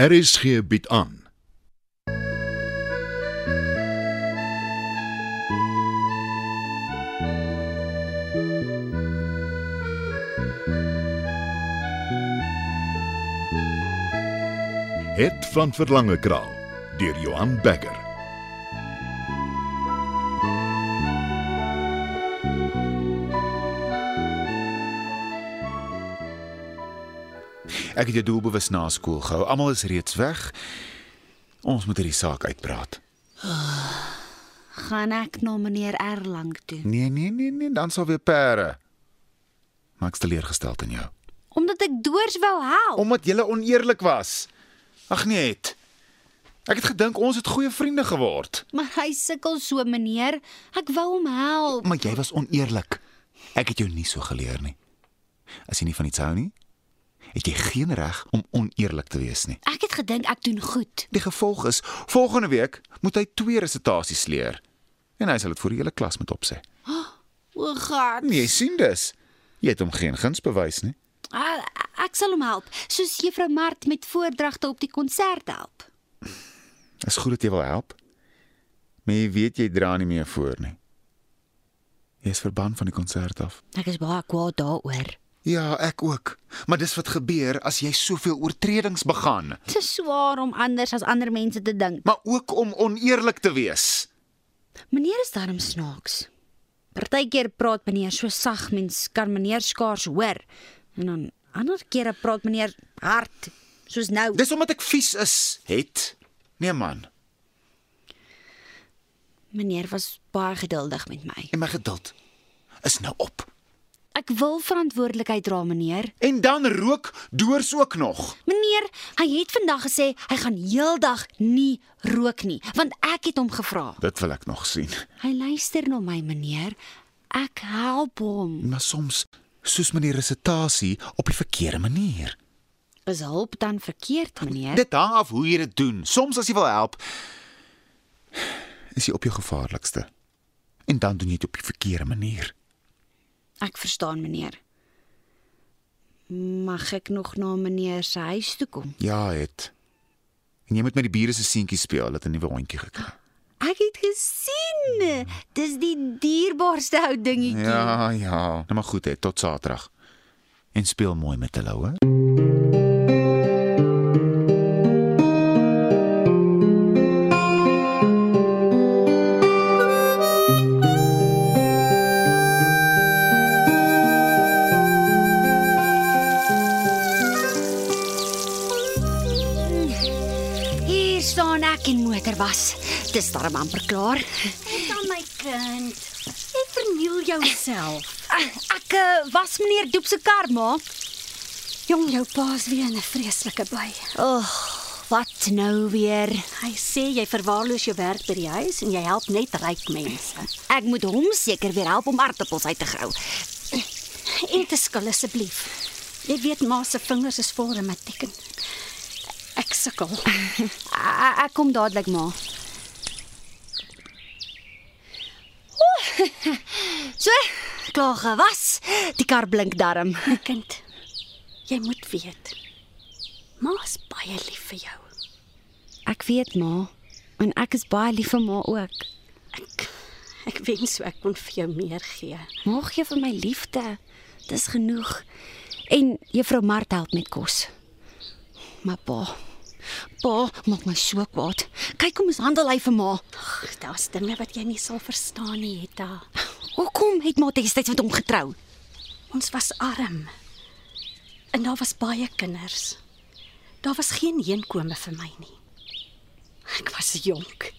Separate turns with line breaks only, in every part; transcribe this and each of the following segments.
RSG bied aan. Het van Verlange Kraal deur Johan Becker.
Ek het jou doelbewus na skool gehou. Almal is reeds weg. Ons moet hierdie saak uitpraat.
gaan ek na meneer Erlang toe
Nee, nee, nee, nee, dan sal weer pere. Maar ek's teleurgesteld in jou.
omdat ek doors wou help.
Omdat jy oneerlik was. Ag nee, het. Ek het gedink ons het goeie vriende geword,
Maar hy sukkel so meneer. Ek wou hom help.
maar jy was oneerlik. Ek het jou nie so geleer nie. As jy nie van iets hou nie, het jy geen reg om oneerlik te wees nie.
Ek het gedink ek doen goed.
Die gevolg is volgende week moet hy twee resitasies leer en hy sal dit vir die hele klas moet opsê.
O God.
Nee, jy sien dus. Jy het hom geen guns bewys nie.
Ah, Ek sal hom help, soos juffrou Mart met voordragte op die konsert help.
Is goed dat jy wil help. Maar jy weet jy dra nie meer voor nie. Jy is verban van die konsert af.
Ek is baie kwaad daaroor.
Ja, ek ook. Maar dis wat gebeur as jy soveel oortredings begaan,
Dit is swaar om anders as ander mense te dink.
maar ook om oneerlik te wees.
Meneer is darm snaaks. Partykeer praat meneer so sag mens kan meneer skaars hoor en dan ander kere praat meneer hard soos nou.
Dis omdat ek vies is, het. Nee man,
Meneer was baie geduldig met my.
en my geduld is nou op.
Ek wil verantwoordelikheid dra, meneer.
En dan rook doors ook nog.
Meneer, hy het vandag gesê hy gaan heeldag nie rook nie, want ek het hom gevra.
Dit wil ek nog sien.
Hy luister na my, meneer. Ek help hom.
Maar soms soos met die resitasie op die verkeerde manier.
Is hulp dan verkeerd, meneer?
Dit hang af hoe jy dit doen. Soms as jy wil help, is jy op jou gevaarlikste. En dan doen jy dit op die verkeerde manier.
Ek verstaan, meneer. Mag ek nog na meneer se huis toe kom?
Ja, het. En jy moet met die bure se seentjie speel, hulle het 'n nuwe hondjie gekry.
Ek het gesien. Dis die dierbaarste ou dingetjie.
Ja, ja. Nou maar goed, het. Tot Saterdag. En speel mooi met hulle, hoor.
Hier staan ek en motor was. Dis darm amper klaar.
Dan my kind, jy verniel jouself.
Ek eh, was meneer Doep se kar, ma.
Jong, jou pa's weer in 'n vreeslike by.
Ag, wat nou weer?
Hy sê jy verwaarloos jou werk by die huis en jy help net ryk mense.
Ek moet hom seker weer help om aartappels uit te grou.
Eet te skil asseblief. Jy weet ma se vingers is vol rematiek. en Ek sukkel.
A- Ek kom dadelik, ma. Oeh, so, klaar gewas. Die kar blink darm.
My kind, jy moet weet. Ma's baie lief vir jou.
Ek weet, ma, en ek is baie lief vir ma ook.
Ek ek wens so ek kon vir jou meer gee.
Ma gee vir my liefde. Dis genoeg. En juffrou Mart help met kos. Maar pa, pa maak my so kwaad. Kyk hoe mishandel hy vir ma.
Ag, daar's dinge wat jy nie sal verstaan nie, Hetta.
Hoekom het ma destyds met hom getrou?
Ons was arm. En daar was baie kinders. Daar was geen heenkome vir my nie. Ek was jonk.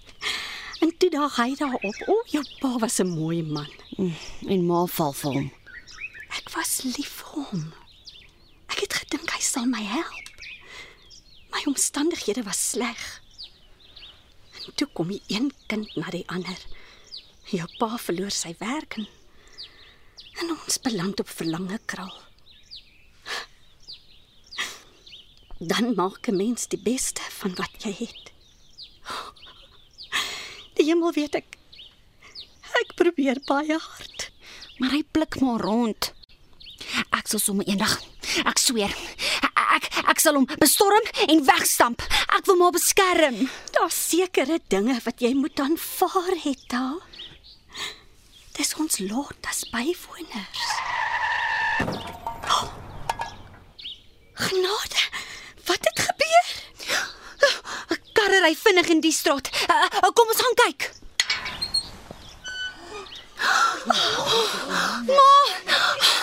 En toe daag hy daarop, o, oh, jou pa was 'n mooi man.
En ma val vir hom.
Ek was lief vir hom. Ek het gedink hy sal my help. My omstandighede was sleg. En toe kom die een kind na die ander. Jou pa verloor sy werk en, en ons beland op verlange kraal. Dan maak 'n mens die beste van wat jy het. Die hemel weet ek. Ek probeer baie hard.
Maar hy blik maar rond. Ek sal sommer eendag, ek sweer, e- ek Ek sal hom bestorm en wegstamp. Ek wil maar beskerm.
Daar's sekere dinge wat jy moet aanvaar, Hetta. Dis ons lot as bywoners. Oh. Genade, wat het gebeur?
Ek karre ry vinnig in die straat. Uh, uh, kom ons gaan kyk.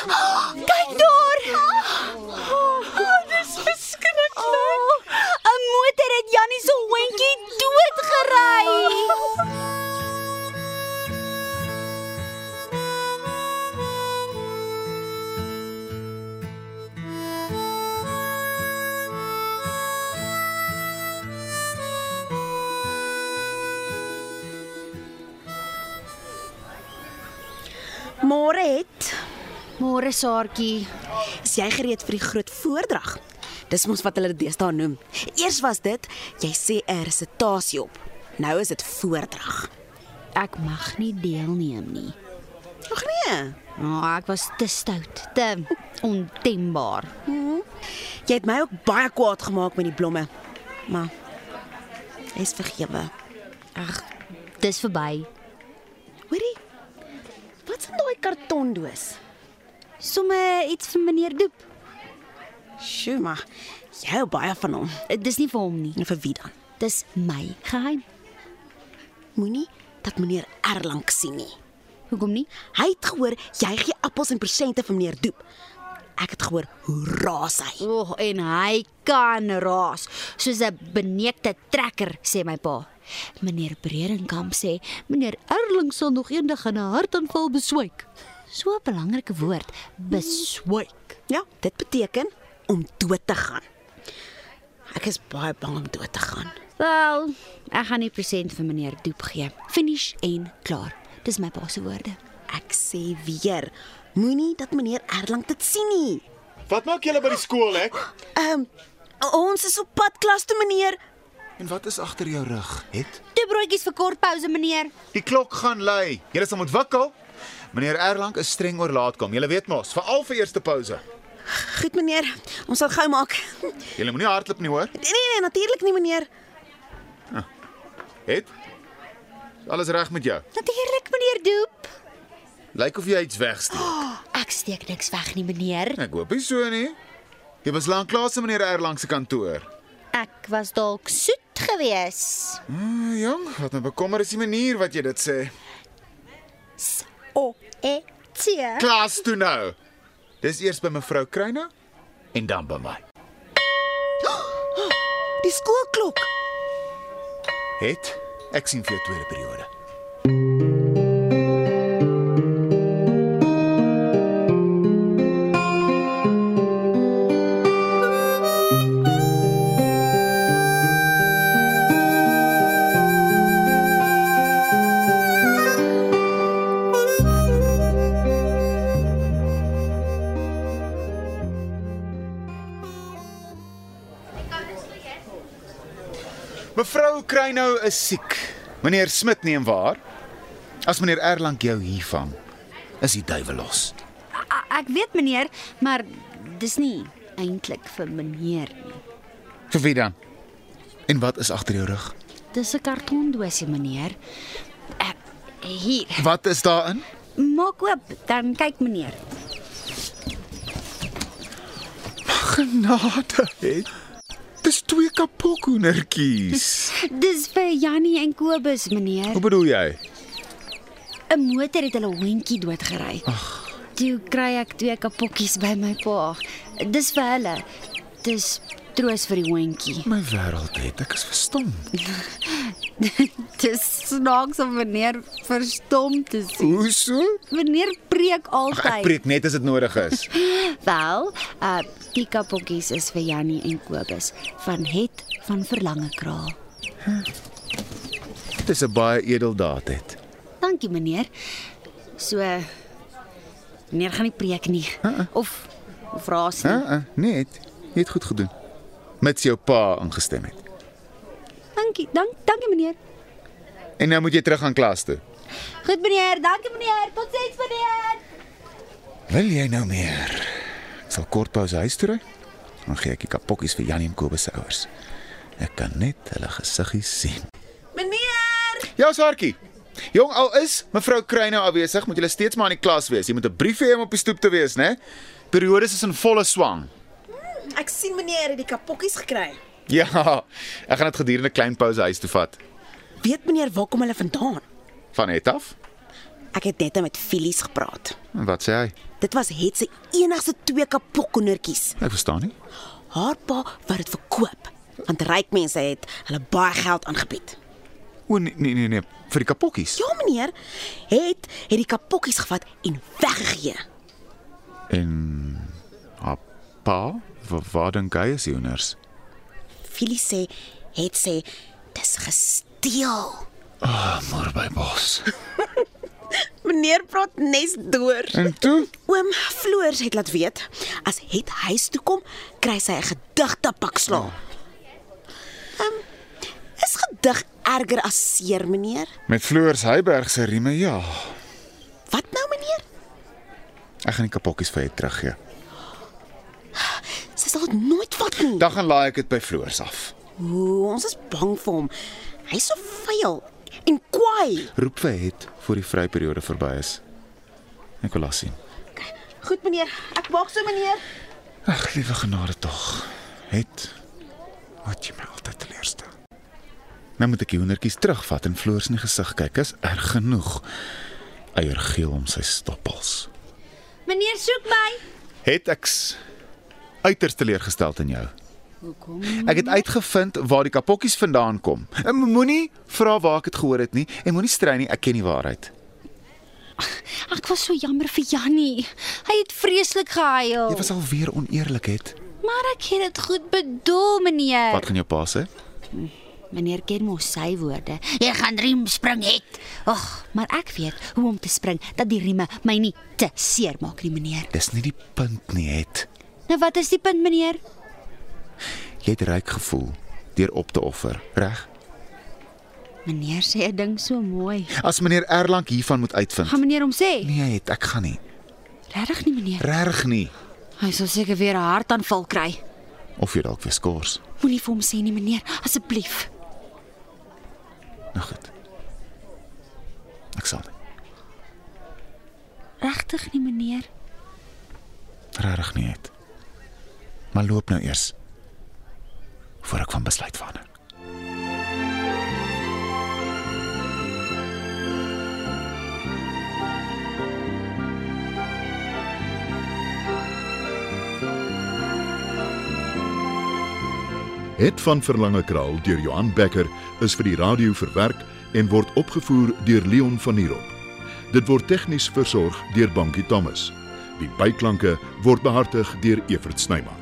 Ma! Kyk daar! Oh, dis beskrik. Oh, 'n Motor het Jannie se hondjie doodgery.
Môre het
Môre Saartjie.
Is jy gereed vir die groot voordrag? Dis mos wat hulle dit deesdae noem. Eers was dit jy sê 'n resitasie op. Nou is dit voordrag.
Ek mag nie deelneem nie.
Ag nee,
Oh, ek was te stout, te ontembaar.
jy het my ook baie kwaad gemaak met die blomme. Maar jy's vergewe.
Ag, dis verby.
Hoorie? Wat's in daai kartondoos?
Somme iets vir meneer Doep.
Sjoe, maar jy hou baie van hom.
Eh, Dis nie vir hom nie.
En vir wie dan?
Dis my geheim.
Moenie dat meneer Erlang sien nie.
Hoekom nie?
Hy het gehoor jy gee appels en persente vir meneer Doep. Ek het gehoor hoe raas hy.
O, oh, en hy kan raas, soos 'n beneekte trekker, sê my pa. Meneer Bredenkamp sê, meneer Erling sal nog eendag aan 'n hartaanval beswyk. So 'n belangrike woord, beswyk.
Ja, dit beteken om dood te gaan. Ek is baie bang om dood te gaan.
Wel, ek gaan nie present vir meneer Doep gee. Finish en klaar. Dis my pa se woorde.
Ek sê weer, moenie dat meneer Erlang dit sien nie.
Wat maak julle by die skool, ek?
Ehm um, ons is op pad klas toe meneer.
En wat is agter jou rug? Het
Toe broodjies vir kort pouse, meneer.
die klok gaan lui. Julle sal moet wakkel. Meneer Erlang is streng oor laatkom. Julle weet mos, veral vir eerste pouse.
Goed meneer, ons sal gou maak.
Julle moenie hardloop nie, hoor.
Nee nee, natuurlik nie meneer.
Het? Is Alles reg met jou?
Natuurlik, meneer Doep.
Lyk of jy iets
Ah.
wegsteek.
Ek steek niks weg nie, meneer.
Ek hoop nie so nie. Jy was lank klaar se meneer Erlang se kantoor.
Ek was dalk soet geweest.
Mm, jong, wat my bekommer is die manier wat jy dit sê.
O E T.
Klas toe nou. Dis eers by mevrou Kruine en dan by my.
Die skoolklok.
Het ek sien vir jou tweede periode. Mevrou Kruine is siek. Meneer Smit neem waar. As meneer Erlang jou hier vang, is die duiwel los.
Ek weet meneer, maar dis nie eintlik vir meneer nie.
Vir wie dan? En wat is agter jou rug?
Dis 'n kartondoosie meneer. Ek hier.
Wat is daarin?
Maak oop, dan kyk meneer.
Genade, het. Dis twee kapokhoendertjies.
Dis vir Jannie en Kobus meneer.
Hoe bedoel jy?
'n Motor het hulle hondjie doodgery. Toe kry ek twee kapokkies by my pa. Dis vir hulle. Dis troos vir die hondjie.
My wêreld het, ek is verstom.
Dis snaaks om meneer verstom te sien.
Hoe so?
Meneer preek altyd.
Ek preek net as dit nodig is.
Wel, uh die kapokkies is vir Jannie en Kobus van het van verlange kraal.
Dis 'n baie edeldaad het.
Dankie meneer. So meneer gaan nie preek nie of of raas nie.
Uh, uh, nee, het. Jy het goed gedoen. Met jou pa ingestem het.
Dankie, dank dankie meneer.
En nou moet jy terug aan klas toe.
Goed meneer, dankie meneer. Totsiens meneer.
Wil jy nou meer? Ek sal kort pause huis toe ry. Dan gee ek die kapokkies vir Janie en Kobus se ouers. Ek kan net hulle gesiggies sien.
Meneer,
Ja, Saartjie. Jong, al is mevrou Kruine afwesig, moet julle steeds maar in die klas wees. Jy moet 'n brief hê om op die stoep te wees, né? Periodes is in volle swang.
ek sien meneer het die kapokkies gekry.
Ja, ek gaan dit gedurende klein pouse huis toe vat.
Weet meneer waar kom hulle vandaan?
Van het af?
Ek het net met Filies gepraat.
En wat sê hy?
Dit was het se enigste twee kapokkondertjies.
Ek verstaan nie.
Haar pa wat dit verkoop. Want ryk mense het hulle baie geld aangebied.
O nee nee nee, nee. vir die kapokkies.
Ja meneer, het het die kapokkies gevat en weggegee.
En haar pa, Wa- waar dink hy is Jonas?
Filies sê het sê dis gesteel.
Maar by Bos.
Meneer praat nes deur.
En toe?
Oom Floors het laat weet as het huis toe kom, kry sy 'n gedigte pak slaag. Ehm is gedig erger as seer, meneer?
Met Floors Heiberg se rieme, ja.
Wat nou, meneer?
Ek gaan die kapokkies vir jou teruggee.
Sy sal dit nooit vat nie.
Dan gaan laai ek dit by Floors af.
Ooh, ons is bang vir hom. Hy's so vuil en kwaai.
Roep vir het voor die vryperiode verby is. Ek wil haar sien.
Goed, meneer. Ek wag so, meneer.
Ag, liewe genade tog. Het wat jy my altyd teleurstel. Nou moet ek die hoendertjies terugvat en Floors in die gesig kyk. Is erg genoeg. Eiergeel om sy stoppels.
Meneer soek my.
het ek s- uiters teleurgesteld in jou. Ek het uitgevind waar die kapokkies vandaan kom. En mo- Moenie vra waar ek dit gehoor het nie en moenie strei nie, ek ken die waarheid.
Ek was so jammer vir Jannie. Hy het vreeslik gehuil.
Jy was alweer oneerlik het.
Maar ek het dit goed bedoel, meneer.
Wat gaan jou pa sê?
Meneer ken mos sy woorde. Jy gaan riem spring het. Ag, maar ek weet hoe om te spring dat die rieme my nie te seer maak nie, meneer.
Dis nie die punt nie het.
Nou wat is die punt, meneer?
Jy het ryk gevoel deur op te offer, reg?
Meneer sê 'n ding so mooi.
As meneer Erlang hiervan moet uitvind.
Gaan meneer hom sê?
Nee, het ek gaan nie.
Regtig nie, meneer.
Reg nie.
Hy sal seker weer 'n hartaanval kry.
Of jy dalk weer skors.
Moenie vir hom sê nie, meneer, asseblief.
Nou goed. Ek sal nie.
Regtig nie, meneer.
Regtig nie het. Maar loop nou eers voor ek van besluit verander.
Het van Verlange Kraal deur Johan Becker is vir die radio verwerk en word opgevoer deur Leon Van Heerop. Dit word tegnies versorg deur Bankie Thomas. Die byklanke word behartig deur Evert Snyman.